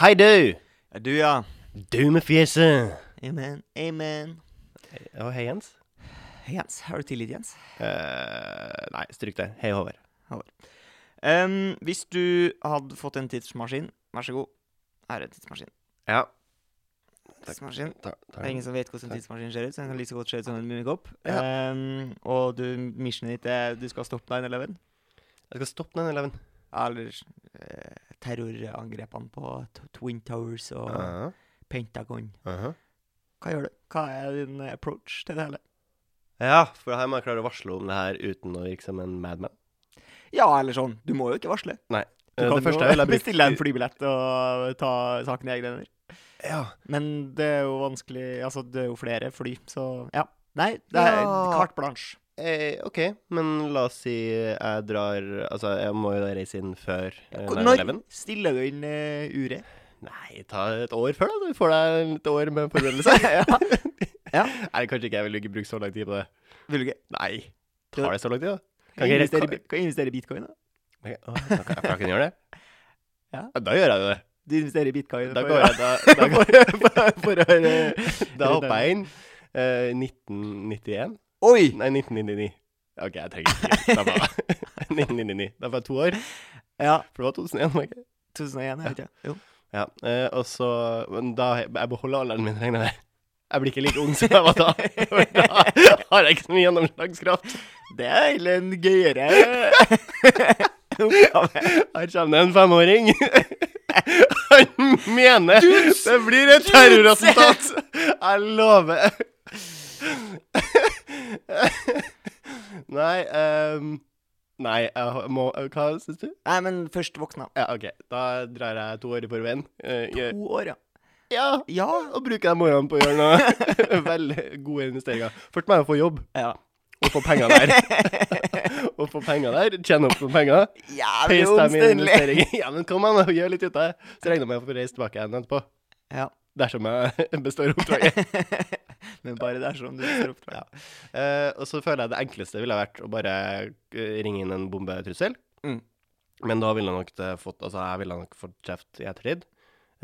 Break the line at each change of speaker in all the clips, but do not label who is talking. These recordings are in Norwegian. Hei, du!
Du, ja.
Du med fjeset.
Amen. Amen.
Og hei, Jens.
Jens, har du tillit, Jens?
Eh, nei, stryk det. Hei, Håvard.
Ehm, hvis du hadde fått en tidsmaskin, vær så god. Her er en tidsmaskin.
Ja.
Tidsmaskin.
Ta, ta.
Det er ingen som vet hvordan tidsmaskinen ser ut, så den kan like så godt se ut som en mummikopp.
Ja.
Ehm, og du, missionet ditt er du skal stoppe 9-11.
Jeg skal stoppe den eleven.
Eller eh, terrorangrepene på T- Twin Towers og
Aha,
Pentagon.
aha.
Hva gjør du? Hva er din eh, approach til det hele?
Ja, for her må jeg klare å varsle om det her uten å virke som en madman.
Ja, eller sånn. Du må jo ikke varsle. Du
Eh,
kan
det første
jo
jeg ville brukt-
bestille deg en flybillett og ta saken i egne hender.
Ja.
Men det er jo vanskelig Altså, det er jo flere fly, så ja. Nei, det er
Ja.
carte blanche.
Eh, OK, men la oss si jeg drar Altså, jeg må jo da reise inn før eh,
Når
9-11.
stiller du inn eh, uret?
Nei, ta et år før, da. Du får deg et år med forberedelse.
Ja.
Nei, kanskje ikke. Jeg vil ikke bruke så lang tid på det.
Vil du ikke?
Nei. Tar det så lang tid, da? ikke-
Kan jeg investere,
kan-
i bi- kan jeg investere i bitcoin, da?
Ok, å, da kan jeg, da kan jeg gjøre det?
Ja.
Da gjør jeg jo det.
Du investerer i bitcoin?
Da
for-
går jeg da, da, går,
for, for å høre
da hopper jeg inn. Eh, 1991?
Oi!
Nei, 1999. OK, jeg trenger ikke Da var 1999. Da var jeg to år.
Ja.
For det var 2001, var det ikke?
2001, jeg vet ikke. Jo.
Ja. eh, og så Men da Jeg beholder alderen min, regner jeg med. Jeg blir ikke like ung som jeg var da. For da har jeg ikke så mye gjennomslagskraft.
Det er egentlig en gøyere oppgave.
Her kommer det en femåring. Han mener
Dudes!
det blir et terrorattentat. Jeg lover. Nei ehm, Nei, jeg har- må Hva syns du?
Nei, men først våkna.
Ja, OK. Da drar jeg to år i forveien. Eh, jeg-
To år, ja.
ja.
Ja.
Og bruker de årene på å gjøre noe veldig gode investeringer. Først må jeg få jobb
Ja,
og få penger der. og få penger der. Tjene opp noen penger.
Jævlig
Pace dem i
omstendelig.
investeringer. Ja, men kom an, da, gjør litt ut av det. Så regner jeg med å få reist tilbake igjen etterpå.
Ja.
Dersom jeg består oppdraget.
Men bare dersom du står opp. Ja.
Eh, og så føler jeg det enkleste ville ha vært å bare eh, ringe inn en bombetrussel.
Mm.
Men da ville jeg nok det fått Altså, jeg ville nok fått kjeft i ettertid.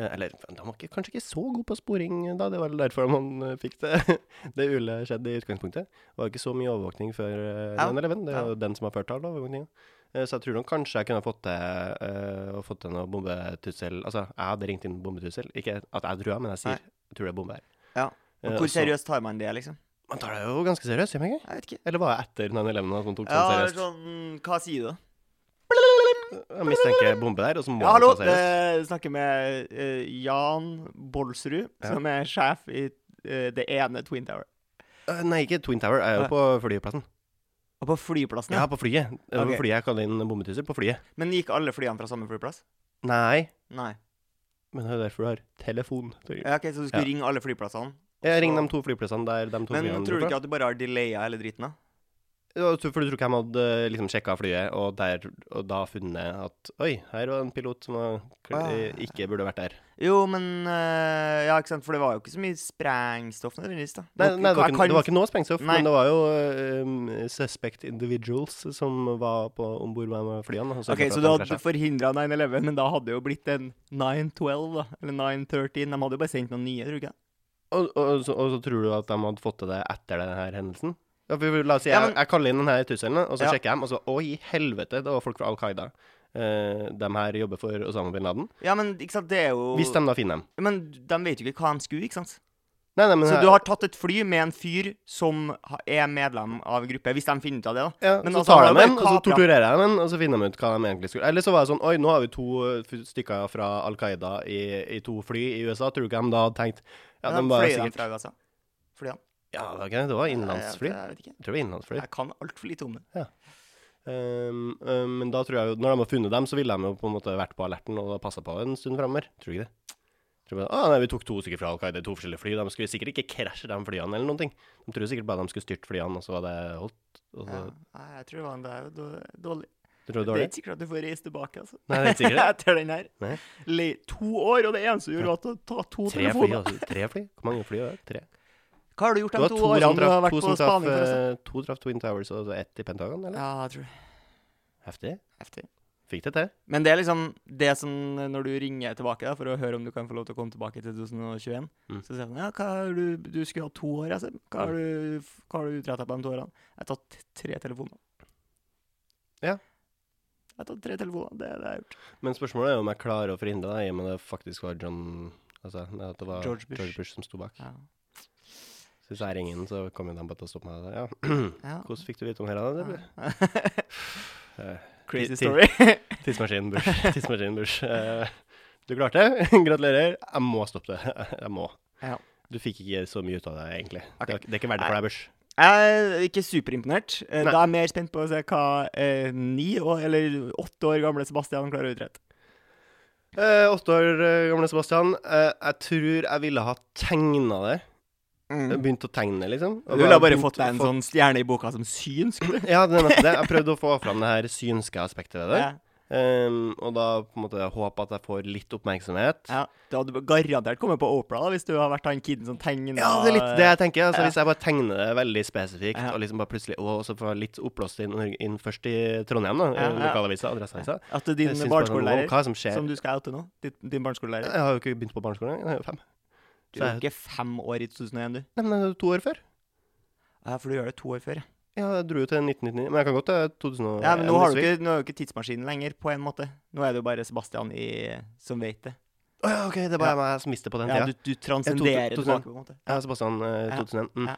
Eh, Eller de var ikke, kanskje ikke så gode på sporing da, det var vel derfor man eh, fikk det. Det ule skjedde i utgangspunktet. Det var ikke så mye overvåkning før eh,
Ja.
9-11. Det er
Ja.
jo den som har ført til all overvåkninga. Eh, Så jeg tror nok kanskje jeg kunne ha fått til, eh, å fått til noe bombetrussel Altså, jeg hadde ringt inn bombetrussel. Ikke at jeg tror jeg, men jeg sier
Nei.
jeg tror det er bombe her.
Ja.
Eh,
Og hvor
så-
seriøst tar man det, liksom?
Man tar det jo ganske seriøst, gjør man ikke?
Jeg vet ikke.
Eller var det etter 9-11 at man tok
Ja,
sånn seriøst?
sånn, Hva sier du, da?
Jeg mistenker bombe der, og så må
Ja,
man
hallo,
ta
det
seriøst.
jeg snakker med eh, Jan Bolsrud,
Ja.
som er sjef i eh, det ene Twin Tower.
Øh, Nei, ikke Twin Tower, jeg er jo
Nei.
på flyplassen.
Og på flyplassen,
Ja,
ja.
på flyet. Det var
Ok.
På flyet jeg kaller inn bombetusser. På flyet.
Men gikk alle flyene fra samme flyplass?
Nei,
Nei.
men det er jo derfor du har telefon. Torgrim.
Ja, ok, Så du skulle
Ja.
ringe alle flyplassene?
Jeg ringer de to flyplassene der de to
Men
flyene
tror du ikke at du bare har delaya hele driten, da?
Ja, så- For du tror ikke de hadde eh, liksom sjekka flyet, og, der, og da funnet at Oi, her var en pilot som var, eh,
Ah.
ikke burde vært der.
Jo, men eh, Ja, ikke sant, for det var jo ikke så mye sprengstoff nødvendigvis, da.
Nei,
Nok-
nei det, var
jeg
ikke,
kan-
det var ikke noe sprengstoff,
Nei.
men det var jo eh, suspect individuals som var om bord med flyene. og sørget
Ok,
for at
Så du
de
hadde
krasjet.
forhindra 9-11, men da hadde det jo blitt en 9-12, da. Eller 9-13. De hadde jo bare sendt noen nye, tror du ikke? det?
Og, og, og, så, og så tror du at de hadde fått til det etter denne hendelsen? Ja, for, la oss si,
Ja,
jeg,
men-
jeg kaller inn denne trusselen, og så
Ja.
sjekker jeg dem, og så Å, i helvete, det var folk fra Al Qaida. Eh, de her jobber for Osama bin Laden.
Ja, men ikke sant, det er jo
Hvis de da finner dem.
Men de vet jo ikke hva de skulle, ikke sant?
Nei, nei, men
Så
her-
du har tatt et fly med en fyr som ha- er medlem av en gruppe, hvis de finner ut av det, da.
ja,
men
Så
altså,
tar
han
de
har
en,
bare
og så
kapret.
torturerer jeg dem, og så finner de ut hva de egentlig skulle Eller så var jeg sånn Oi, nå har vi to eh, f- stykker fra Al Qaida i, i to fly i USA. Tror du ikke de da hadde tenkt Ja, de var
fløy dem
sikkert
fra Gaza. Fløy dem.
Ja, det var ikke det. Det var innenlandsfly.
Jeg, jeg, vet ikke.
Jeg tror det var innenlandsfly.
Jeg kan altfor lite om det.
Um, um, men da tror jeg jo, når de har funnet dem, så ville de jo på en måte vært på alerten og passa på en stund framover. Tror du ikke det? Tror du bare, ah, nei, vi tok to stykker fra Al Qaida, to forskjellige fly. De skulle sikkert ikke krasje de flyene eller noen ting. De tror sikkert bare de skulle styrte flyene, og så var det holdt. Og så,
Ja. Nei, jeg tror det var en- det er jo dår- dårlig.
Tror du det
Det
var
er
det?
ikke sikkert at du får reise tilbake, altså.
Nei, det er ikke sikkert.
Etter den her.
Nei.
Le to år, og det eneste du gjorde, var å ta to
Tre fly,
telefoner.
altså. Tre fly? Hvor mange fly var det? Tre?
Hva har du gjort
Det
de
var
to,
to
årene
som
du har
traff,
vært
to
på
som traff,
spaning? forresten?
eh, to traff Twin Towers og ett i Pentagon, eller?
Ja, jeg tror det.
Heftig.
Heftig.
Fikk det til.
Men det er liksom det som Når du ringer tilbake da, for å høre om du kan få lov til å komme tilbake i 2021,
Mm.
så sier han ja, hva har du, du skulle ha to år, jeg Seb. Hva har du, hva har du utretta på de to årene? Jeg har tatt tre telefoner.
Ja.
Jeg har tatt tre telefoner. Det er det jeg har gjort.
Men spørsmålet er jo om jeg klarer å forhindre det, i og med det faktisk var John Altså at det var
George Bush.
som sto bak.
Ja.
Så hvis jeg ringer inn, så kommer de bare til å stoppe meg. Ja.
Ja.
Hvordan fikk du vite om dette? Det Eh,
Crazy
ti-
story.
Tidsmaskinen Bush. Tidsmaskinen Bush. Eh, Du klarte det. Gratulerer. Jeg må stoppe det. Jeg må.
Ja.
Du fikk ikke så mye ut av det, egentlig.
Ok.
Det, er, det er ikke verdt det for deg, Bush.
Jeg er ikke superimponert. Eh,
Nei.
Da er jeg mer spent på å se hva eh, ni år, eller åtte år gamle Sebastian klarer å utrette.
Eh, åtte år eh, gamle Sebastian. Eh, jeg tror jeg ville ha tegna det. Jeg Begynt å tegne, liksom.
Mm. Du ville ha bare
begynt
fått deg en
å få-
sånn stjerne i boka som syns.
Ja, det er nettopp det. Jeg prøvde å få fram det her synske aspektet ved det.
Ja.
Ehm, og da på en måte håpe at jeg får litt oppmerksomhet.
Ja, du hadde garantert kommet på Oprah da, hvis du har vært han kiden som tegner
Ja, det er litt det jeg tenker. Altså,
Ja.
Hvis jeg bare tegner det veldig spesifikt,
Ja.
og liksom bare plutselig Å, så får jeg litt oppblåst inn, inn først i Trondheim, da.
Ja,
i
ja.
Lokalavisa, Adresseavisa.
At
Jeg
din
synes bare sånn, wow,
barneskolelærer,
Hva er det som skjer?
som du skal oute nå Din, din barneskolelærer
Jeg har jo ikke begynt på barneskolen engang. Jeg er jo fem.
Du er jo ikke fem år i 2001, du.
Nei, men det er jo to år før.
Ja, for du gjør det to år før. ja.
Ja, jeg dro jo til 1999. Men jeg kan godt til 2001.
Ja, men nå har du
hvis vi-
ikke, nå er jo ikke tidsmaskinen lenger, på en måte. Nå er det jo bare Sebastian i, som vet det.
Å ja, OK, det er bare meg som mister på den
Ja,
tida.
du, du
to-
transcenderer
to-
tilbake, på en måte.
Ja, Sebastian eh,
Ja.
2001. Mm.
Ja.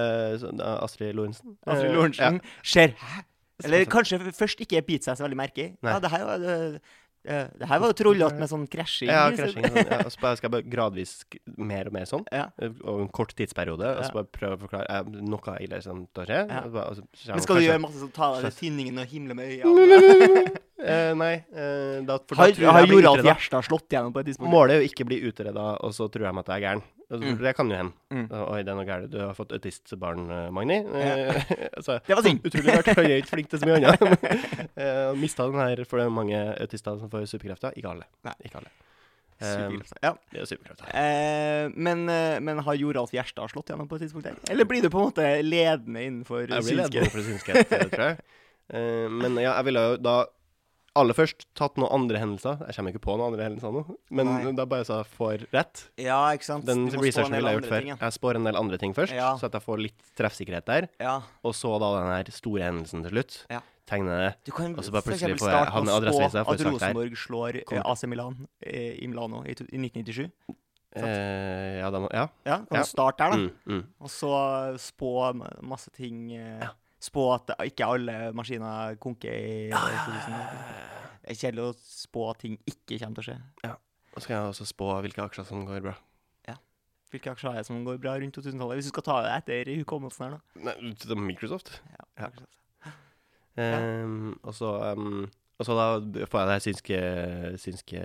Eh, så, da, Astrid Lorentzen.
Astrid
Eh,
Lorentzen
ja.
ser Hæ? Eller
Sebastian.
kanskje f- først ikke biter seg så veldig merke i.
Nei.
Ja, det her var det, det her var jo trollete med sånn krasjing.
Ja,
så-
krasjing. og sånn, Ja, og så bare skal jeg bare gradvis sk- mer og mer sånn.
Ja.
Over en kort tidsperiode. Og så bare prøve å forklare eh, noe jeg liksom tar skje.
Ja.
og så bare- og så skjer
Men
noe,
skal du
kanskje-
gjøre masse sånn ta deg
Slags-
til tinningen og himle med øynene?
Eh, nei, eh, da, for da
Har,
tror jeg
har
jeg blir
Jorald
utredet.
Gjerstad slått gjennom på et tidspunkt?
Målet er jo ikke å bli utreda, og så tror jeg meg at jeg er gæren. Altså,
Mm.
for Det kan jo hende.
Mm.
Oi, det er noe gærent. Du har fått autistbarn, eh, Magni. Eh, altså,
Det var synd.
utrolig rart. Han er ikke flink til så mye annet. uh, Mista den her for det er mange autister som får superkrefter. Ikke alle.
Nei.
Ikke alle. Eh,
Supergreit. Ja.
det er superkrefter.
Eh, men, eh, men har Joralf Gjerstad slått gjennom på et tidspunkt? der? Eller blir du på en måte ledende innenfor
Jeg blir litt
synske?
for synskhet, tror jeg. Eh, men ja, jeg ville jo da aller først tatt noen andre hendelser. Jeg kommer ikke på noen andre hendelser nå, men
Nei.
da bare så jeg får rett.
Ja, ikke sant?
Den
Du må spå en
researchen
del
ville jeg
andre
gjort før.
ting, ja.
Jeg spår en del andre ting først,
Ja.
så at jeg får litt treffsikkerhet der.
Ja.
Og så da den her store hendelsen til slutt.
Ja.
Tegne det.
Du kan
Og så bare
for
plutselig
eksempel
får jeg-
starte
han
med å
adresseavisa
spå
får
at
sagt her.
Rosenborg slår eh,
Kommer.
AC Milan eh, i Milano i, to- i 1997. Sant.
Eh, ja, da må Ja.
Ja, kan
Ja.
du starte der, da?
Mm, mm.
Og så spå ma- masse ting. eh,
Ja.
Spå at ikke alle maskiner konker i ja, Det er kjedelig å spå at ting ikke kommer til å skje.
Og så kan jeg også spå hvilke aksjer som går bra.
Hvilke aksjer er det som går bra rundt 2000-tallet? Hvis du skal ta det etter hukommelsen her, da.
Nei, det er Microsoft. Ja.
ikke sant?
Ehm, og så ehm, og så da får jeg det her synske, synske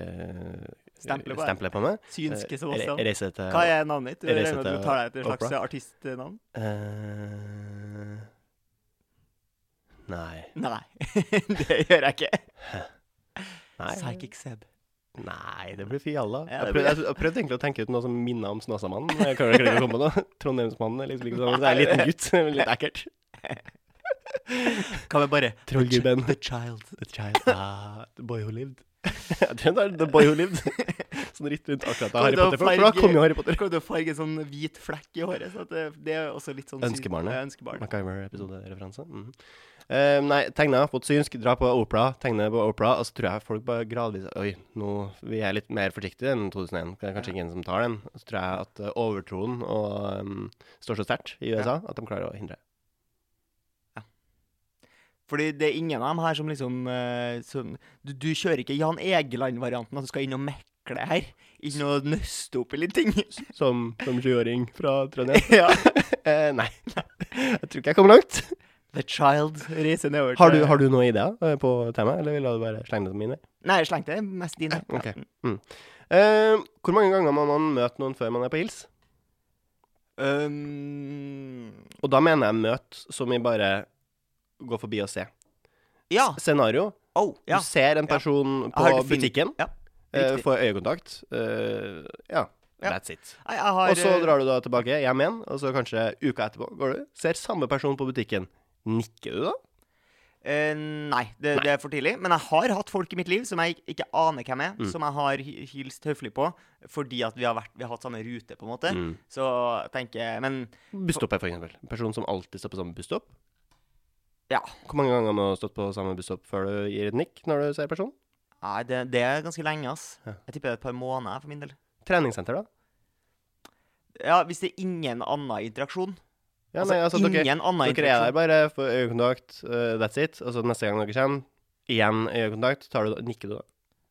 Stempelet på deg.
stempelet på meg.
Synske
Eh, re-
Sebastian.
Reise til
Hva er navnet ditt? Du
Jeg
regner med
leser
at du tar deg etter et slags
Oprah.
artistnavn?
Eh, Nei.
Nei, det gjør jeg ikke.
Nei.
Psychic Seb.
Nei, det blir fialla.
Ja,
jeg
det blir-
prøvde, jeg, jeg prøvde egentlig å tenke ut noe som minner om Snåsamannen. men Jeg klarer ikke å komme på noe. Trondheimsmannen er liksom ikke sånn. Det er en liten gutt. det er Litt ekkelt.
Kan vi bare
Trollgubben.
The Child.
The child ah, The boy who lived. Jeg tror det er The boy who lived. Sånn ritt rundt akkurat da Harry
Kommer
Potter. For
til å
da
farge-
kom jo Harry Potter.
Kommer til å farge en sånn hvit flekk i håret. Så at det, det er også litt sånn syn-
Ønskebarnet.
Ja, Ønskebarnet.
MacGyver-episodereferanse. Mhm. Eh, nei, tegne, fått synsk, dra på Opera, tegne på Opera, og så tror jeg folk bare gradvis Oi, nå vi er litt mer forsiktige enn 2001, det er kanskje ingen som tar den. Så tror jeg at eh, overtroen og, em, står så sterkt i USA at de klarer å hindre.
Fordi det er ingen av dem her som liksom eh, som, du, du kjører ikke Jan Egeland-varianten, at du skal inn og mekle her. Inn og nøste opp i litt ting.
Som, som 20-åring fra Trondheim.
ja.
Eh, nei. Jeg tror ikke jeg kommer langt.
The Child reiser nedover
Har du, har du noen ideer eh, på temaet, eller vil du bare slenge det som mine?
Nei, jeg slengte mest dine. Ja.
ok. Eh, hvor mange ganger må man møte noen før man er på hils?
Um,
Og da mener jeg møte som i bare gå forbi og se.
ja.
Scenario.
Oh, ja.
Du ser en person
Jeg har
på
definitivt-
butikken,
Ja,
eh,
riktig.
får øyekontakt. eh, ja,
Ja.
that's it.
Nei, jeg har eh,
Og så drar du da tilbake hjem igjen, og så kanskje uka etterpå går du, ser samme person på butikken. Nikker du da?
Eh, nei, det, det er for tidlig. Men jeg har hatt folk i mitt liv som jeg ik- ikke aner hvem er,
Mm.
som jeg har hi- hilst høflig på fordi at vi har, vært, vi har hatt samme rute, på en måte.
Mm.
Så jeg tenker Men
Busstopp her, for eksempel. Person som alltid står på samme busstopp.
ja.
Hvor mange ganger må du ha stått på samme busstopp før du gir et nikk når du ser personen?
Nei, det, det er ganske lenge, ass.
Ja.
Jeg tipper det er et par måneder for min del.
Treningssenter, da?
Ja, hvis det er ingen annen interaksjon.
Ja,
altså,
nei, altså,
ingen
dere,
annen
dere er der
interaksjon.
bare for øyekontakt, eh, that's it. Og så neste gang dere kommer, igjen øyekontakt, tar du, nikker du da?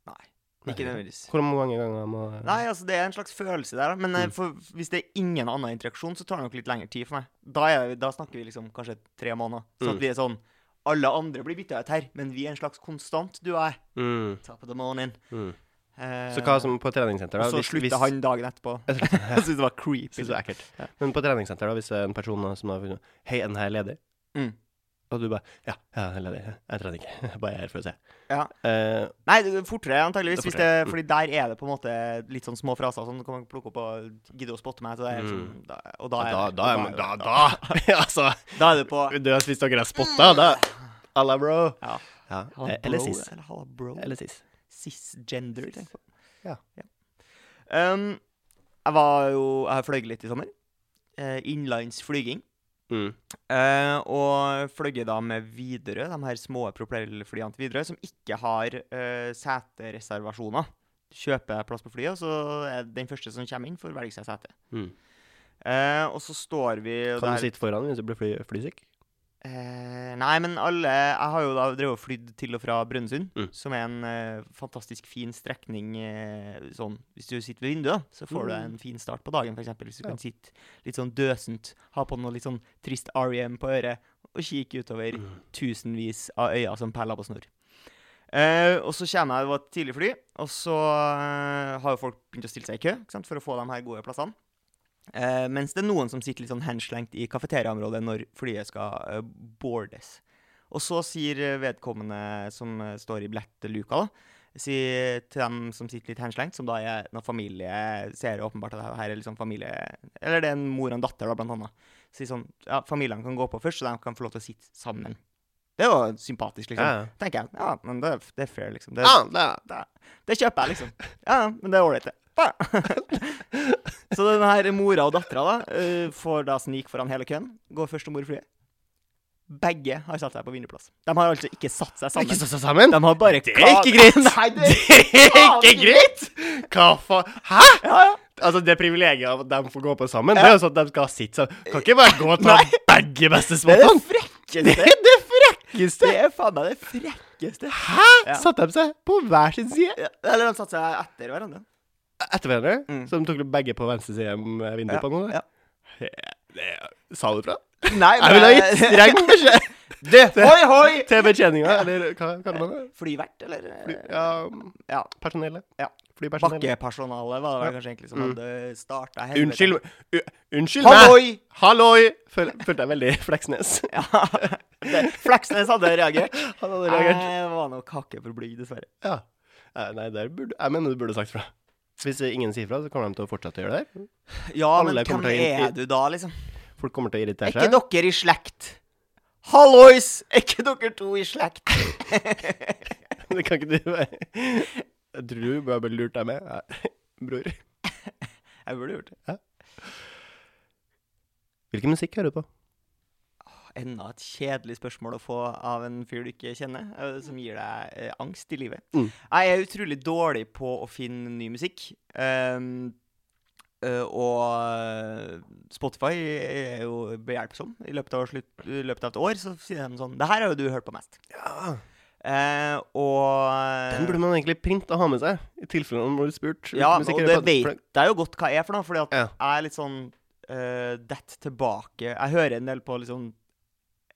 Nei, ikke nødvendigvis.
Hvor mange ganger må
Nei, altså det er en slags følelse der, da. men
Mm.
eh, for, hvis det er ingen annen interaksjon, så tar det nok litt lengre tid for meg. Da, er, da snakker vi liksom kanskje tre måneder. Så
Mm.
at vi er sånn Alle andre blir bytta ut her, men vi er en slags konstant, du og jeg.
Mm,
Top of the morning.
mm.
Eh,
Så hva som på treningssenter, da?
og så
Hvis- hvis-
slutter han dagen etterpå. Jeg syns det var creepy.
Synes det er ekkelt. Men på treningssenter, da, hvis det er en person da som har funnet Hei, er den her ledig?
Mm.
Og du bare Ja, ja, jeg er ledig. Jeg trener ikke. Jeg bare er her for å se.
Ja.
Eh,
Nei, det er fortere antageligvis,
Det er
hvis det, fordi der er det på en måte litt sånn små fraser som du kan plukke opp og gidde å spotte meg. Så det er sånn, da, og da er
Mm. da,
det-
da er man Da, da! altså
da er det på
Du har spist dere har spotta, da. Alla, bro.
Ja.
Ja.
Halla,
eh, Eller
bro,
sis.
Eller halla, bro.
Eller sis.
cisgender. tenk på.
Ja.
Um, jeg var jo Jeg fløy litt i sommer. Eh, Innenlands flyging.
Mm.
Eh, og fløy da med Widerøe, de her små propellflyene til Widerøe, som ikke har eh, setereservasjoner. Du kjøper plass på flyet, og så er den første som kommer inn, får velge seg sete.
Mm.
Eh, og så står vi og
Kan
der-
du sitte foran hvis du blir fly, flysyk?
Eh, nei, men alle Jeg har jo da drevet og flydd til og fra Brønnøysund,
Mm.
som er en eh, fantastisk fin strekning eh, sånn Hvis du sitter ved vinduet, da, så får du
Mm.
en fin start på dagen, f.eks. Hvis du
Ja.
kan sitte litt sånn døsent, ha på noe litt sånn trist REM på øret, og kikke utover
Mm.
tusenvis av øyer som perler på snor. Eh, og så kommer jeg, det var et tidlig fly, og så eh, har jo folk begynt å stille seg i kø ikke sant, for å få de her gode plassene. Eh, mens det er noen som sitter litt sånn henslengt i kafeteriaområdet når flyet skal eh, boardes. Og så sier eh, vedkommende som eh, står i billettluka, da, sier til dem som sitter litt henslengt, som da er noen familie Ser åpenbart at det her er liksom familie Eller det er en mor og en datter, da, blant annet. Sier sånn Ja, familiene kan gå på først, så de kan få lov til å sitte sammen. Det var sympatisk, liksom.
Ja, ja.
Tenker jeg. Ja, men det, er- det er fair, liksom. Det,
Ja, Ah, da.
da, det kjøper jeg, liksom. Ja, ja, men det er ålreit, det. Ba. Så den her mora og dattera da, eh, får da snike foran hele køen. Går først om bord i flyet. Begge har satt seg på vinnerplass. De har altså ikke satt seg sammen.
Ikke stå sammen?
De har bare
Det er ikke greit!
Nei, det er
Det er ikke
Faen.
greit! Hva faen? Hæ?
ja, ja.
Altså, det privilegiet av at de får gå på sammen, det er jo sånn at de skal sitte sammen. Kan ikke bare gå og ta
Nei.
begge beste
Det er det
spottene. Det
frekkeste.
er det frekkeste!
Det er faen meg det frekkeste.
Hæ?
Ja.
Satt de seg på hver sin side?
Ja, Eller de satte seg etter hverandre.
Etter hverandre?
Mm.
Så de tok begge på venstre side med vinduet
Ja,
på nå?
ja.
Sa du fra?
Nei,
Jeg ville ha gitt streng beskjed
det. Hoi, hoi!
til betjeninga, eller hva kaller man det?
Flyvert, eller?
Ja,
Ja.
personellet.
Ja.
Flypersonellet.
Bakkepersonalet var det vel kanskje egentlig som
Mm.
hadde starta
Unnskyld, u unnskyld meg!
Halloi!
Halloi! Føl følte jeg veldig Fleksnes.
Ja. det- Fleksnes hadde reagert.
Han hadde reagert.
Jeg var nok hakket for blyg, dessverre.
Ja. Eh, Nei, der burde Jeg mener du burde sagt fra. Hvis eh, ingen sier fra, så kommer de til å fortsette å gjøre det. her.
Ja,
Alle
men
kommer
hvem
til å inn-
er du da, liksom?
Folk kommer til å
Er
irritere
ikke
seg.
dere i slekt? Hallois! Er ikke dere to i slekt?
Det kan ikke du være. Jeg tror du bare burde lurt deg med. Ja. Bror.
Jeg burde gjort det.
Hvilken musikk hører du på?
Enda et kjedelig spørsmål å få av en fyr du ikke kjenner, eh, som gir deg eh, angst i livet.
Mm.
Jeg er utrolig dårlig på å finne ny musikk. Um, eh, og eh, Spotify er jo behjelpsom. I løpet av, slutt, i løpet av et år så sier de sånn Det her har jo du hørt på mest.
Ja.
Eh, og eh,
Den burde man egentlig printe og ha med seg, i tilfelle man blir spurt. hvilken
Ja,
musikk
og
hører
det
du på? For
vet jeg jo godt hva jeg er for noe, fordi at
Ja.
jeg er litt sånn uh, dett tilbake Jeg hører en del på litt sånn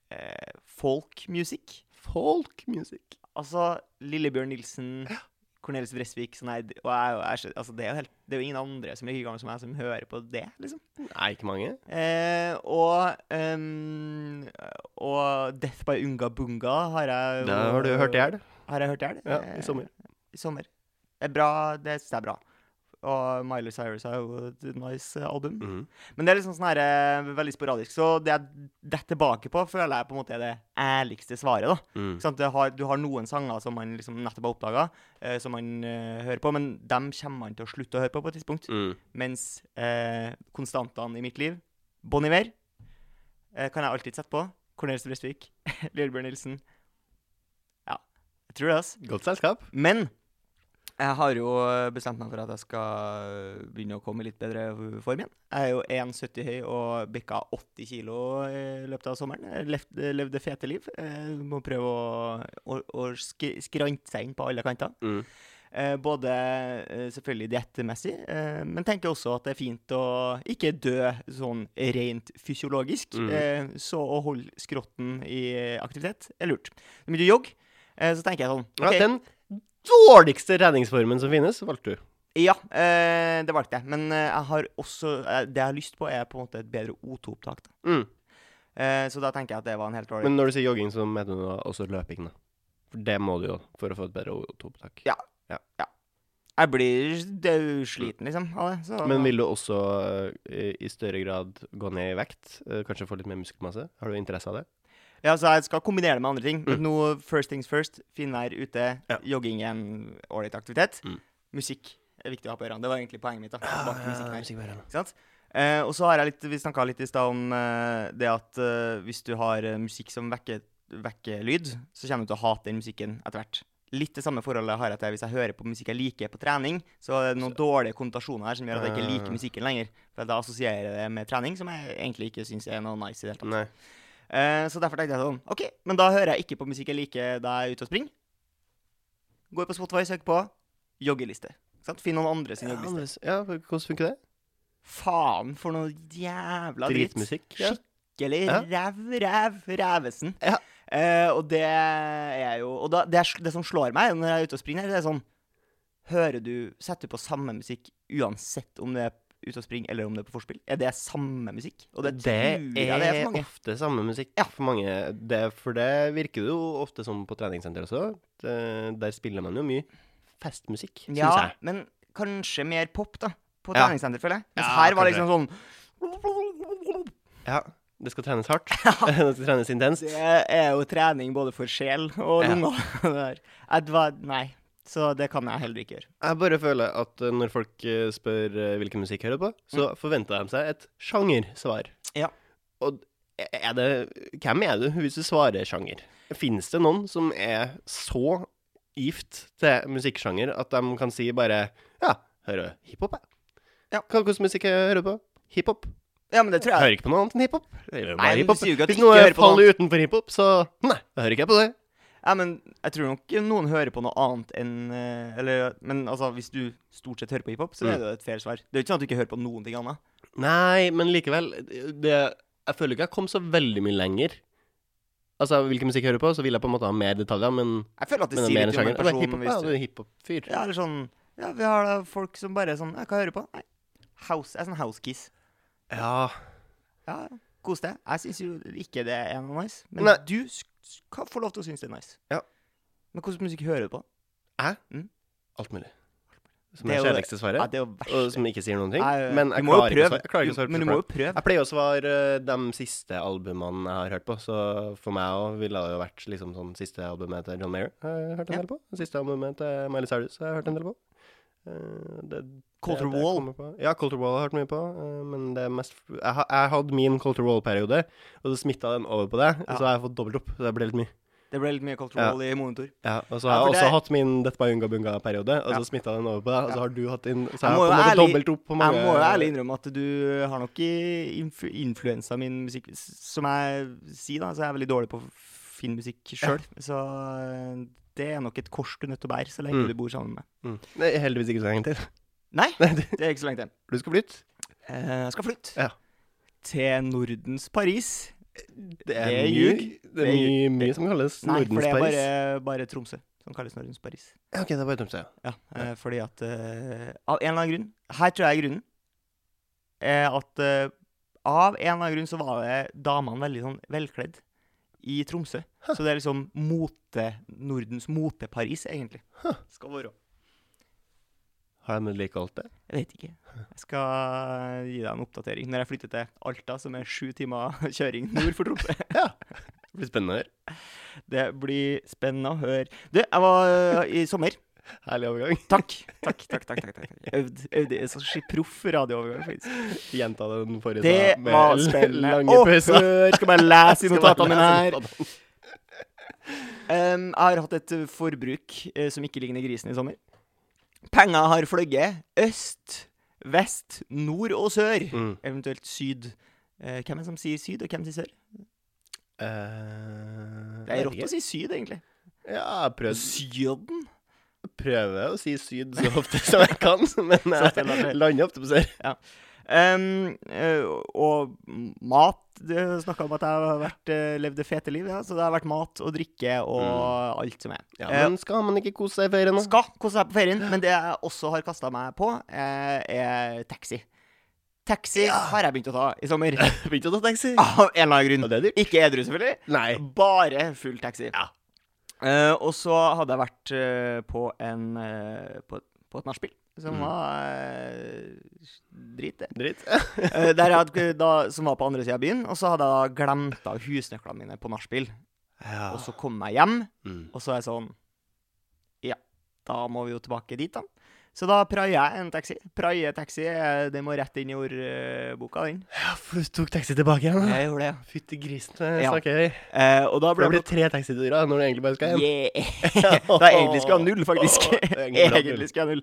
eh, folkmusikk.
Folk music.
Altså Lillebjørn Nilsen, Cornelis Bresvik sånn her, Og jeg, er jo- jeg, er så- altså, det, er jo helt, det er jo ingen andre som er like gamle som meg, som hører på det, liksom.
Nei, ikke mange.
Eh, og ehm, Og Death by Unga Bunga har jeg
Da har du hørt i hjel.
Har jeg hørt i hjel?
Ja,
Eh,
i sommer.
i sommer. Det er bra, det synes jeg er bra. Og Miley Cyrus har jo et nice eh, album.
Mhm.
Men det er liksom sånn her, eh, veldig sporadisk. Så det jeg detter tilbake på, føler jeg på en måte er det ærligste svaret. da.
Mm.
Ikke sant? Det har, du har noen sanger som man liksom nettopp har oppdaga, eh, som man eh, hører på, men dem kommer man til å slutte å høre på på et tidspunkt.
Mm.
Mens eh, konstantene i mitt liv, Bon Iver, eh, kan jeg alltid sette på. Cornelis Bresvik, Lillebjørn Nilsen. Ja, jeg tror det, altså.
Godt selskap.
Men jeg har jo bestemt meg for at jeg skal øh, begynne å komme i litt bedre form igjen. Jeg er jo 1,70 høy og bikka 80 kilo i løpet av sommeren. Jeg levd- levde fete liv. Eh, Må prøve å, å, å sk skrante seg inn på alle kanter.
Mm.
Eh, Både eh, selvfølgelig diettmessig, eh, men tenker også at det er fint å ikke dø sånn rent fysiologisk.
Mhm.
Eh, Så å holde skrotten i aktivitet er lurt. Det er mye jogg. eh, Så tenker jeg sånn
Ja,
ok,
den dårligste redningsformen som finnes, valgte du.
Ja, eh, det valgte jeg. Men eh, jeg har også, eh, det jeg har lyst på, er på en måte et bedre O2-opptak. da.
Mm.
Eh, så da tenker jeg at det var en helt dårlig
Men når du sier jogging, så mener du da også løping, da. For det må du jo for å få et bedre O2-opptak.
Ja. Jeg blir dødsliten, liksom, av det. Så,
Men vil du også eh, i i større grad gå ned i vekt? Eh, Kanskje få litt mer muskelmasse? Har du interesse av det?
Ja, så jeg skal kombinere det med andre ting.
Mm.
Men nå, first things first. Finvær ute,
Ja.
jogging er en ålreit aktivitet.
Mm. Ah,
Musikk er viktig å ha på ørene. Det var egentlig poenget mitt. da. Tilbake til musikken her.
musikkbærende.
Ikke sant? Eh, og så har jeg litt, Vi snakka litt i stad om eh, det at eh, hvis du har eh, musikk som vekker, vekker lyd, så kommer du til å hate den musikken etter hvert. Litt det samme forholdet har jeg til hvis jeg hører på musikk jeg liker på trening, så er det noen dårlige konnotasjoner her som gjør at jeg ikke
Ah.
liker musikken lenger. For Da assosierer jeg det med trening, som jeg egentlig ikke syns er noe nice i det hele tatt.
Nei.
Eh, så derfor tenkte jeg sånn OK, men da hører jeg ikke på musikk jeg liker da jeg er ute og springer. Går på Spotify, søker på joggeliste. Ikke sant? Finn noen andre sin
Ja,
joggeliste.
Andres- ja, hvordan funker det?
Faen for noe jævla dritt.
Dritmusikk? Ja.
Skikkelig
Ja.
ræv, ræv, rævesen.
Ja.
Eh, og det er jo Og da, det, er, det som slår meg når jeg er ute og springer, det er sånn Hører du Setter du på samme musikk uansett om det er ute og springer eller om det er på forspill? Er det samme musikk? Og det, tror jeg det er for mange.
ofte samme musikk
Ja.
for mange. Det, for det virker det jo ofte som på treningssenter også. Det, der spiller man jo mye festmusikk, syns
Ja,
jeg.
men kanskje mer pop, da. På
Ja.
treningssenter, føler jeg. Mens
Ja,
her var det
kanskje
liksom sånn
Ja, det skal trenes hardt. det skal trenes intenst.
Det er jo trening både for sjel og
Ja.
lunger. det der. Jeg var- Nei. Så det kan jeg heller ikke gjøre.
Jeg bare føler at eh, når folk eh, spør eh, hvilken musikk jeg hører på, så forventer de seg et sjangersvar.
Mm. Ja.
Og e, er det, hvem er du hvis du svarer sjanger? Fins det noen som er så gift til musikksjanger at de kan si bare Ja, hører du hiphop, jeg?
Ja.
Hva slags musikk jeg hører på? Hiphop.
Ja, men det tror
Jeg
jeg.
hører ikke på noe annet enn hiphop. Jeg hører
Nei,
bare
men du
hiphop.
sier jo ikke at
Hvis
du ikke
noe
hører på noe
faller utenfor hiphop, så Nei, da hører ikke jeg på det.
Ja, men jeg tror nok noen hører på noe annet enn eh, Eller, men altså, hvis du stort sett hører på hiphop, så er
Mm.
det jo et fair svar. Det er jo ikke sånn at du ikke hører på noen ting annet.
Nei, men likevel det, Jeg føler ikke jeg kom så veldig mye lenger. Altså, Hvilken musikk jeg hører på, så vil jeg på en måte ha mer detaljer, men,
Jeg føler at det
men det er
sier
mer en sjanger.
litt om en
Ja,
person.
hiphop, ja,
hvis
du
du,
er hiphop-fyr.
ja, eller sånn Ja, vi har da folk som bare er sånn Jeg kan høre på. Nei. House. Jeg er sånn house-kiss.
Ja.
Ja, ja. kos deg. Jeg syns jo ikke det er noe nice. Men
Nei.
du skal få lov til å synes det er nice.
Ja.
Men hvordan musikk hører du på?
Alt mulig. Som
Det
er
er
det
jo-
kjedeligste
Ja,
svaret,
det er jo verst.
og som ikke sier noen ting.
Nei, ja, ja.
Men
Du
jeg
må jo
klarer, ikke å
prøve.
svare- jeg klarer ikke å svare
Men
på
du må jo
spørsmålet.
prøve.
Jeg pleier å svare eh, de siste albumene jeg har hørt på, så for meg òg ville det jo vært liksom sånn siste albumet til John Mayer har jeg hørt en
Ja.
del på. Siste albumet til Miley Cyrus har jeg hørt en del på. Eh, det,
Coulter
det- det
Wall.
kommer på. Ja, Colter Wall har jeg hørt mye på, eh, men det er mest Jeg, ha- jeg hadde min Colter Wall-periode, og så smitta den over på deg,
Ja.
så har jeg fått dobbelt opp. Så det ble litt mye.
Det ble litt
Ja.
mye kontroll i monitor.
Ja, og så
Ja,
har jeg
for
også
det-
hatt min Dette var Unga Bunga-periode, og så
Ja.
smittet smitta den over på deg, og
Ja.
så har du hatt din Så
Jeg
jeg har
må
på en
jo
måte
ærlig-
dobbelt opp på mange
Jeg må jo ærlig innrømme at du har nok i- influ- influensa min musikk Som jeg sier, da, så er jeg veldig dårlig på å finne musikk sjøl. Så eh, det er nok et kors du er nødt til å bære så lenge
Mm.
du bor sammen med meg.
Mm. Nei, heldigvis ikke så lenge til.
Nei,
Nei, du,
det er ikke så lenge til.
du skal flytte.
Eh, Jeg skal flytte
Ja.
til Nordens Paris.
Det er,
Det er
mye,
ljug.
det er
Det er
mye,
ljug.
mye som kalles
Nei, for
Nordens
det er
Paris.
bare, bare Tromsø som kalles Nordens Paris.
Ja, ok, det er bare Tromsø. ja.
Ja, eh, fordi at eh, Av en eller annen grunn Her tror jeg grunnen er at eh, av en eller annen grunn så var det damene veldig sånn velkledd i Tromsø. Så det er liksom mote Nordens mote-Paris, egentlig. Skal være.
Har de vedlikeholdt det?
Jeg vet ikke. Jeg skal eh, gi deg en oppdatering når jeg flytter til Alta, som er sju timer kjøring nord for Tromsø.
Det blir spennende å høre.
Det blir spennende å høre. Du, jeg var øh, i sommer.
Herlig overgang.
Takk. Takk, takk, takk. takk, takk. Øvd. øvd. Jeg er så skikkelig proff radioovergang. faktisk.
Gjenta den forrige
Det
da,
var
l-
spennende
lange
å høre.
pauser.
Skal bare lese i
Skal bare
notatene mine
lese
her.
notatene.
Em, jeg har hatt et eh, forbruk eh, som ikke ligner grisen i sommer. Penger har fløyet øst, vest, nord og sør.
Mm.
Eventuelt syd. Eh, hvem er det som sier syd, og hvem sier sør?
Eh,
Det er
jeg vet
rått å si syd, egentlig.
ikke. Ja, jeg prøvd,
Syden?
prøver å si syd så ofte som jeg kan, men
Så ofte lander
jeg
jeg.
lander ofte på sør.
Em, eh, og mat Du snakka om at jeg har vært, eh, levd det fete liv, ja. så det har vært mat og drikke og alt som er.
Ja,
Eh,
men skal man ikke kose seg i ferien, da?
skal kose seg på ferien, men det jeg også har kasta meg på, eh, er taxi. Taxi har jeg begynt å ta i sommer.
Begynte å ta taxi.
Av en eller annen
Og
grunn.
det er dyrt.
Ikke edru, selvfølgelig.
Nei.
Bare full taxi.
Ja.
Eh, og så hadde jeg vært eh, på en eh, på, på et nachspiel. Som
Mm.
var eh, drit, det.
Dritt.
Eh, der jeg hadde, da, som var på andre sida av byen. Og så hadde jeg da glemt av husnøklene mine på nachspiel.
Ja.
Og så kom jeg hjem,
Mm.
og så er jeg sånn Ja, da må vi jo tilbake dit, da. Så da praier jeg en taxi. Praie taxi, eh, det må rett inn i ordboka, den.
ja, for du tok taxi tilbake igjen, da.
Jeg gjorde det,
Fytti grisen, det
Ja.
snakker vi.
ja. Eh, og da
For det
ble
blir tre taxiturer når du egentlig bare skal hjem.
Yeah. Da egentlig skulle jeg ha null, faktisk.
Åh, egentlig bra null.
egentlig skulle jeg ha null.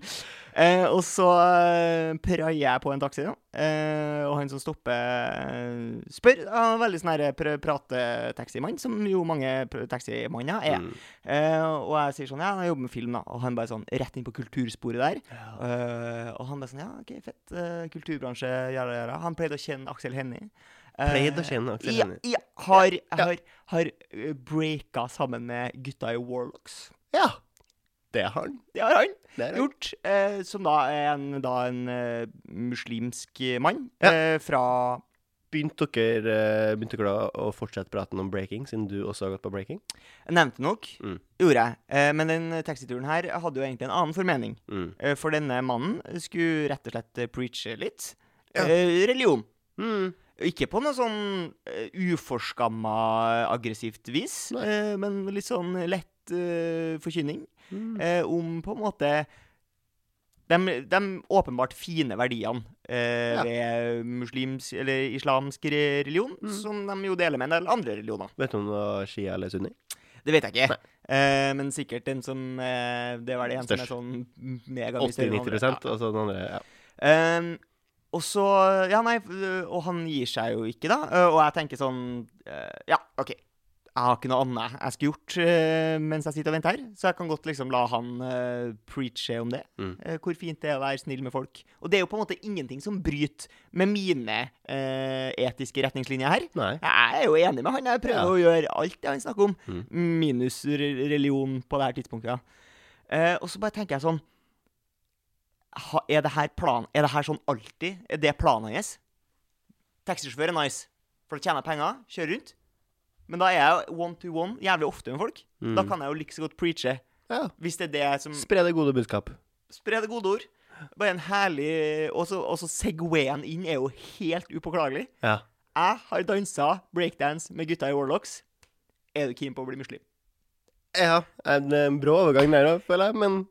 Eh, og så eh, praier jeg på en taxi, da. Eh, og han som stopper, eh, spør. Han er veldig sånn her pr prate-taximann, som jo mange pr- taximanner er.
Mm.
Eh, og jeg sier sånn, ja, jeg jobber med film da Og han bare sånn, rett inn på kultursporet der Eh, Og han bare sånn, ja, ok, fett eh, Kulturbransje, jævla, jævla Han pleide å kjenne Aksel Hennie Eh,
Pleide å kjenne Aksel Hennie.
Ja, ja, har, har, har eh, breaka sammen med gutta i Warlocks
Ja. Det har han.
Det har han
Det har han.
gjort eh, Som da er en, da en eh, muslimsk mann
Ja.
eh, Fra
Begynte dere, eh, begynte dere da å fortsette praten om breaking, siden du også har gått på breaking?
jeg Nevnte nok,
Mm.
gjorde jeg eh, Men den taxituren her hadde jo egentlig en annen formening
Mm.
Eh, For denne mannen skulle rett og slett eh, preache litt.
Ja.
Eh, religion.
Mm.
Ikke på noe sånn eh, uforskamma eh, aggressivt vis,
Nei.
eh, men litt sånn lett eh, forkynning
Mm.
eh, om på en måte de, åpenbart fine verdiene eh,
Ja.
ved muslims, eller islamsk re- religion,
Mm.
som de jo deler med en del andre religioner.
Vet du om det var Shia eller Sunni?
Det vet jeg ikke. Eh, men sikkert den som eh, Det var det en som er
Størst.
sånn megamye større
80-90
enn andre. Ja.
altså den andre ja.
Ehm, og så Ja, nei, øh, og han gir seg jo ikke, da. øh, Og jeg tenker sånn øh, Ja, OK. Jeg har ikke noe annet jeg skulle gjort øh, mens jeg sitter og venter her, så jeg kan godt liksom la han øh, preache om det.
Mm.
øh, hvor fint det er å være snill med folk. Og det er jo på en måte ingenting som bryter med mine øh, etiske retningslinjer her.
Nei.
Jeg er jo enig med han. Jeg prøver
Ja.
å gjøre alt det han snakker om,
Mm.
minus re- religion på det her tidspunktet. Ja. Eh, og så bare tenker jeg sånn ha, Er det her plan Er det her sånn alltid? Er det planen hans? Taxisjåfør er nice, for da tjener jeg penger, kjører rundt. Men da er jeg jo one to one jævlig ofte med folk.
Mm.
Da kan jeg jo like så godt preache,
Ja.
hvis det er det som
Mm. Spre det gode budskap.
Spre det gode ord. Bare en herlig Og så og så Segwayen inn er jo helt upåklagelig.
Ja.
Jeg har dansa breakdance med gutta i Warlocks. Er du keen på å bli muslim?
ja. En eh, brå overgang der òg, føler jeg, men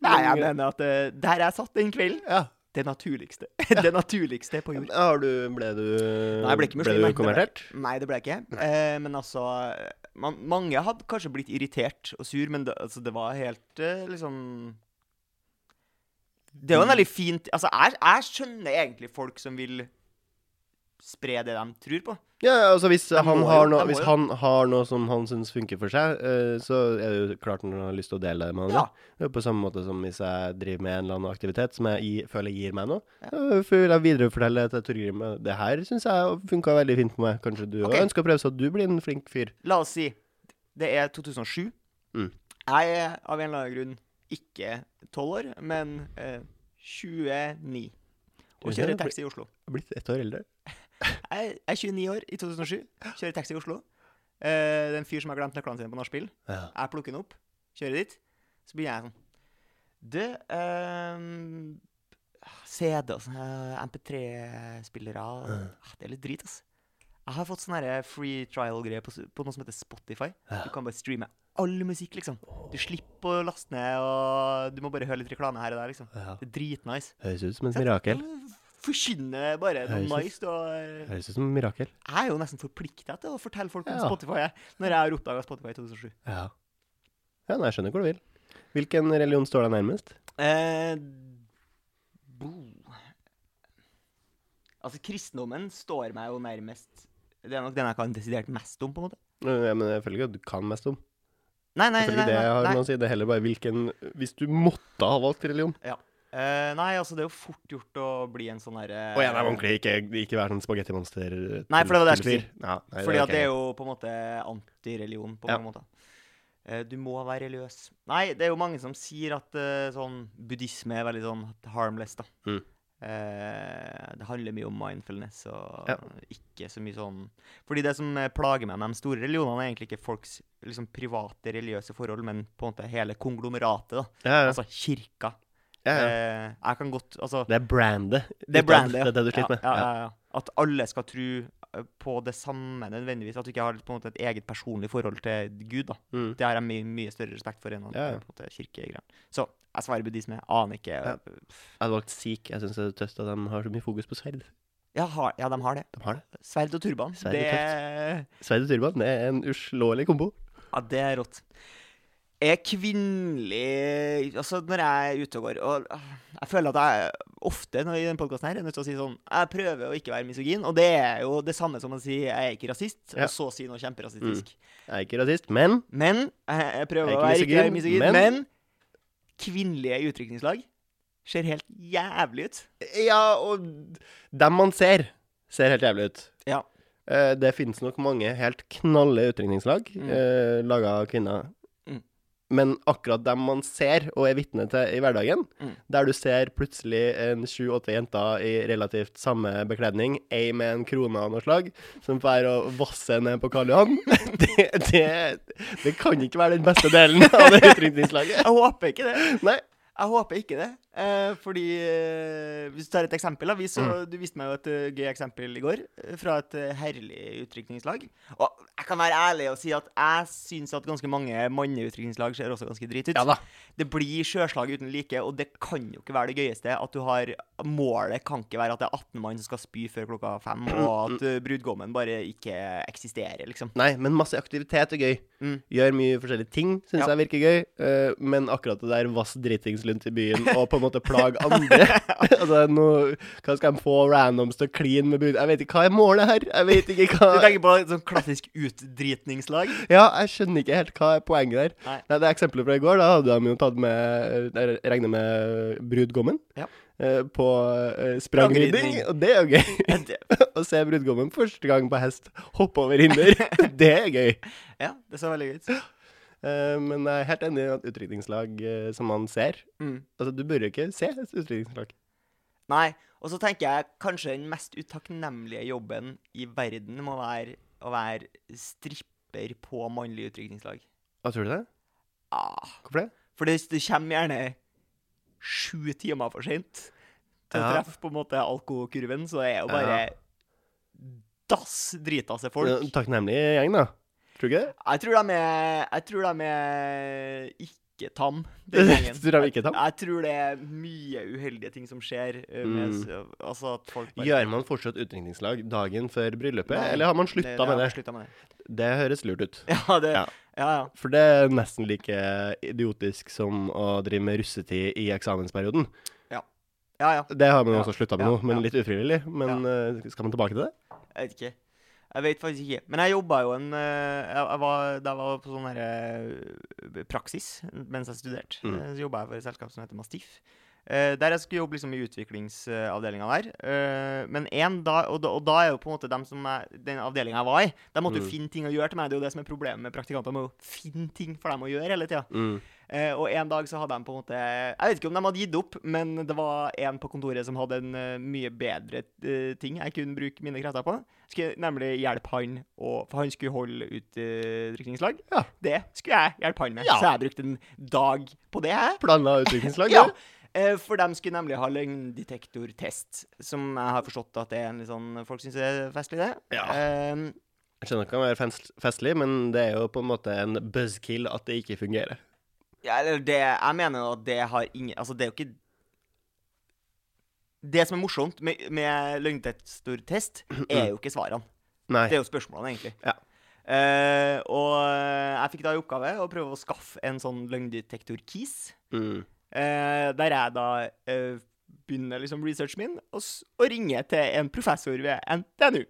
Nei, jeg mener at eh, der jeg satt den kvelden,
Ja.
det naturligste. det naturligste på jord.
Har du Ble du
Nei, jeg ble ikke muslim.
Ble
jeg.
du konvertert?
Det ble- Nei, det ble jeg ikke. Eh, men altså man, Mange hadde kanskje blitt irritert og sur, men det, altså, det var helt eh, liksom Det er jo en veldig fint Altså, jeg, jeg skjønner egentlig folk som vil spre det de tror på.
Ja, ja, altså hvis
Jeg må
han,
jo,
har
jeg
noe,
må
hvis
jo.
han har noe som han syns funker for seg, eh, så er det jo klart han har lyst til å dele det med andre.
Ja.
Det er jo på samme måte som hvis jeg driver med en eller annen aktivitet som jeg gi- føler gir meg noe. Ja. Vil jeg viderefortelle til Torgrim eh, det her syns jeg funka veldig fint for meg. Kanskje du
Ok.
også ønsker å prøve så du blir en flink fyr.
La oss si det er 2007.
Mm.
Jeg er av en eller annen grunn ikke 12 år, men eh, 29.
Du
Og
ser
kjører
det blir-
taxi i Oslo.
Jeg er Blitt ett år eldre.
Jeg er 29 år i 2007, kjører taxi i Oslo. Eh, det er en fyr som har glemt nøklene sine på nachspiel.
Ja.
Jeg plukker den opp, kjører dit. Så begynner jeg sånn Du ehm, altså, CD og sånne MP3-spillere ah, Det er litt drit, ass. Jeg har fått sånne her eh, free trial-greier på, s- på noe som heter Spotify. Du kan bare streame all musikk, liksom. Du slipper å laste ned, og du må bare høre litt reklame her og der, liksom.
Ja.
Det er dritnice.
Høres ut som et mirakel.
Forkynne bare noe
Høres ut-
nice. Og eh,
Høres ut som et mirakel.
jeg er jo nesten forplikta til å fortelle folk om
Ja.
Spotify, jeg, når jeg har oppdaga Spotify i 2007.
Ja. ja, nei, jeg skjønner hvor du vil. Hvilken religion står deg nærmest?
Eh, bo. Altså, kristendommen står meg jo nærmest Det er nok den jeg kan desidert mest om, på en måte.
Ja, men jeg føler ikke at du kan mest om.
Nei, nei,
Jeg føler
nei.
ikke det jeg har
nei,
med
nei.
å si. Det er heller bare hvilken Hvis du måtte ha valgt religion.
Eh, nei, altså, det er jo fort gjort å bli en sånn herre
Å ja, nei, ordentlig. Ikke, ikke vær sånn spagettimonster.
Nei, for det var det jeg skulle si.
Ja, nei,
Fordi at
ok.
det er jo på en måte antireligion på
Ja.
mange måter. Eh, Du må være religiøs. Nei, det er jo mange som sier at eh, sånn buddhisme er veldig sånn harmless, da.
Mm.
Eh, det handler mye om mindfulness og
Ja.
ikke så mye sånn Fordi det som eh, plager meg med de store religionene, er egentlig ikke folks liksom, private religiøse forhold, men på en måte hele konglomeratet, da.
ja, ja,
Altså kirka.
ja, ja.
Eh, jeg kan godt Altså
Det er brandet.
det er brandet,
ja. Det er det du sliter med.
Ja, ja, ja, ja. At alle skal tro eh, på det samme nødvendigvis. At du ikke har på en måte et eget personlig forhold til Gud. da.
Mm.
Det har jeg mye, mye større respekt for enn at,
Ja, ja.
eh, på en måte kirkegreier. Så jeg svarer buddhisme. Aner ikke.
Ja.
eh,
Jeg hadde valgt sikh. Jeg syns det er tøft at de har så mye fokus på sverd.
Ja, har, ja, de har det.
De har det.
Sverd og turban.
Sverd og
det,
Sverd og turban det er en uslåelig kombo.
ja, det er rått. Er kvinnelig Altså, når jeg er ute og går og ah, Jeg føler at jeg ofte når, i denne podkasten er nødt til å si sånn Jeg prøver å ikke være misogyn, og det er jo det samme som å si jeg er ikke rasist,
Ja.
og så si noe kjemperasistisk.
Jeg er ikke rasist, men
Men eh, jeg, jeg prøver
Jeg
å
er
være
ikke
ikke
misogyn,
misogyn,
men-
men, kvinnelige utrykningslag ser helt jævlig ut.
Ja, og dem man ser, ser helt jævlig ut.
Ja.
Eh, det finnes nok mange helt knalle utringningslag
Mm.
eh, laga av kvinner.
Mm.
Men akkurat dem man ser og er vitne til i hverdagen,
Mm.
der du ser plutselig en sju-åtte jenter i relativt samme bekledning, ei med en krone av noe slag, som drar og vasser ned på Karl Johan, det, det, det kan ikke være den beste delen av det utringningslaget.
Jeg håper ikke det.
Nei.
Jeg håper ikke det. Eh, fordi eh, Hvis du tar et eksempel da, vi så,
Mm.
Du viste meg jo et eh, gøy eksempel i går eh, fra et eh, herlig utrykningslag. Og jeg kan være ærlig og si at jeg syns at ganske mange manneutrykningslag ser også ganske drit ut.
Ja da.
Det blir sjøslag uten like, og det kan jo ikke være det gøyeste at du har Målet kan ikke være at det er 18 mann som skal spy før klokka fem, og at eh, brudgommen bare ikke eksisterer, liksom.
Nei, men masse aktivitet er gøy.
Mm.
Gjør mye forskjellige ting, syns
Ja.
jeg virker gøy. eh, men akkurat det der vass dritings rundt i byen og på en måte plage andre Altså, nå, Hva skal de få randoms til å kline med brud... Jeg vet ikke hva er målet her! Jeg vet ikke
Du
hva
tenker på et sånn klassisk utdritningslag?
Ja, jeg skjønner ikke helt hva er poenget der.
Nei.
Det eksempelet fra i går, da hadde de jo tatt med Jeg regner med brudgommen.
Ja.
eh, på eh, sprangridning,
Sprangridning.
og det er jo gøy.
Det-
Å se brudgommen første gang på hest hoppe over hinder, det er gøy.
Ja, det så veldig gøy ut.
Eh, men jeg er helt enig i at utdrikningslag eh, som man ser
Mm.
Altså, du burde ikke se et utdrikningslag.
Nei. Og så tenker jeg kanskje den mest utakknemlige jobben i verden må være å være stripper på mannlig utrykningslag.
Hva tror du det?
Ah.
Hvorfor det?
For det, det kommer gjerne sju timer for seint til å
Ja.
treffe på en måte alkokurven, så det er jo bare dass drita seg
Ja,
folk.
Takknemlig gjeng, da. Tror du ikke det?
Jeg tror de er, jeg tror de er ikke tam, den gjengen.
tror jeg ikke tar.
Jeg tror det er mye uheldige ting som skjer. eh, Med,
Mm.
s- Altså at folk bare
Gjør man fortsatt utdrikningslag dagen før bryllupet,
Nei,
eller har man
Det-
slutta
det-
med det?
Slutta med det.
Det høres lurt ut.
Ja, det,
Ja.
ja. ja,
For det er nesten like idiotisk som å drive med russetid i eksamensperioden.
ja, ja.
Det har man jo
Ja,
også slutta med
ja,
nå, men
ja.
litt ufrivillig. Men eh, skal man tilbake til det?
Jeg vet ikke. Jeg vet faktisk ikke. Men jeg jobba jo en eh, jeg, jeg var, Da jeg var på sånn her eh, praksis mens jeg studerte,
Mm.
eh, så jobba jeg for et selskap som heter Mastiff. Eh, der jeg skulle jobbe liksom i utviklingsavdelinga der. Eh, men en da, og, da, og da er jo på en måte dem som jeg, den avdelinga jeg var i, de måtte jo
Mm.
finne ting å gjøre til meg. Det er jo det som er problemet med praktikanter, de må jo finne ting for dem å gjøre hele tida.
Mm.
Eh, og en dag så hadde de på en måte Jeg vet ikke om de hadde gitt opp, men det var en på kontoret som hadde en eh, mye bedre eh, ting jeg kunne bruke mine krefter på. Skulle nemlig hjelpe han, og, for han skulle holde utdrikningslag.
Ja.
Det skulle jeg hjelpe han med,
Ja.
så jeg brukte en dag på det. jeg.
Planla utviklingslag?
Ja.
du?
Eh, For de skulle nemlig ha løgndetektortest, som jeg har forstått at det er en litt sånn Folk syns er festlig, det.
Ja.
Eh,
Jeg skjønner det kan være fest- festlig, men det er jo på en måte en buzzkill at det ikke fungerer.
Ja, eller det Jeg mener jo at det har ingen Altså, det er jo ikke Det som er morsomt med, med løgndetektortest, er jo ikke svarene.
Nei.
Det er jo spørsmålene, egentlig.
Ja.
Eh, og jeg fikk da i oppgave å prøve å skaffe en sånn løgndetektor-kis.
Mm.
eh, der jeg da eh, begynner liksom researchen min, og, s- og ringer til en professor ved NTNU.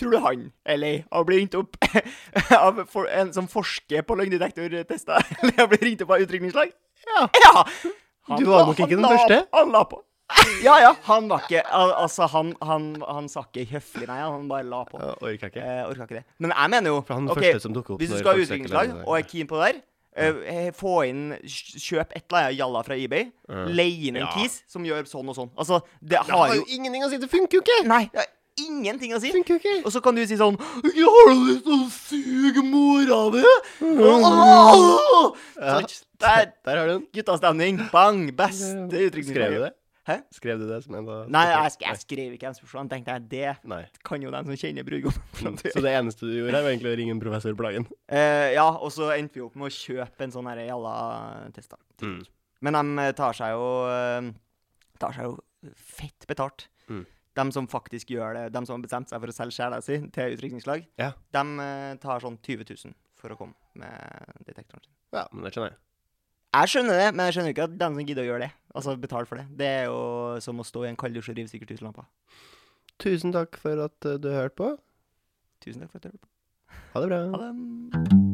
Tror du han er lei av å bli ringt opp av for, en som forsker på løgndetektortester? Eller å bli ringt opp av utrykningslag?
Ja.
Ja!
Du var
la-
nok ikke den
la-
første.
Han la på. Ja, ja. Han var ikke al Altså, han, han, han sa ikke høflig, nei. Han bare la på.
Jeg orker ikke.
Eh, orka ikke det. Men jeg mener jo
For han er den
ok,
første som dukker opp
Hvis du
når
skal ha
folk søker
utviklingslag
lønning.
og er keen på det der, eh, eh, få inn kj- Kjøp et eller annet jalla fra eBay. Leie inn en
Ja.
kis som gjør sånn og sånn. Altså, det
Det har
har
jo
jo
ingenting å si! Det funker jo ikke!
Nei, det har ingenting å si.
Det funker jo ikke!
Og så kan du si sånn «Jeg Har du lyst til å suge mora di? Åh!
Ja.
Så, det er
Der har du den.
guttastemning. Bang! Beste
Skrev du
utviklingslaget.
det?
Hæ?
Skrev du det som en da?
Nei, jeg, sk- jeg skrev ikke en spørsmål. Jeg tenkte jeg,
Nei.
det kan jo den som kjenner brudgommen.
Så det eneste du gjorde, her var egentlig å ringe en professor Plagen.
Eh, ja, og så endte vi opp med å kjøpe en sånn her jalla-test. da.
Mm.
Men de eh, tar seg jo eh, Tar seg jo fett betalt.
Mm.
De som faktisk gjør det, de som har bestemt seg for å selge sjela si til utrykningslag,
Ja.
de eh, tar sånn 20 000 for å komme med detektoren sin.
Ja, men det skjønner jeg.
Jeg skjønner det, men jeg skjønner ikke at de som gidder å gjøre det, altså betale for det. Det er jo som å stå i en kalddusj og rive sikkert 1000 lamper.
Tusen takk for at eh, du hørte på.
Tusen takk for at du hørte på.
Ha det bra.
Ha det.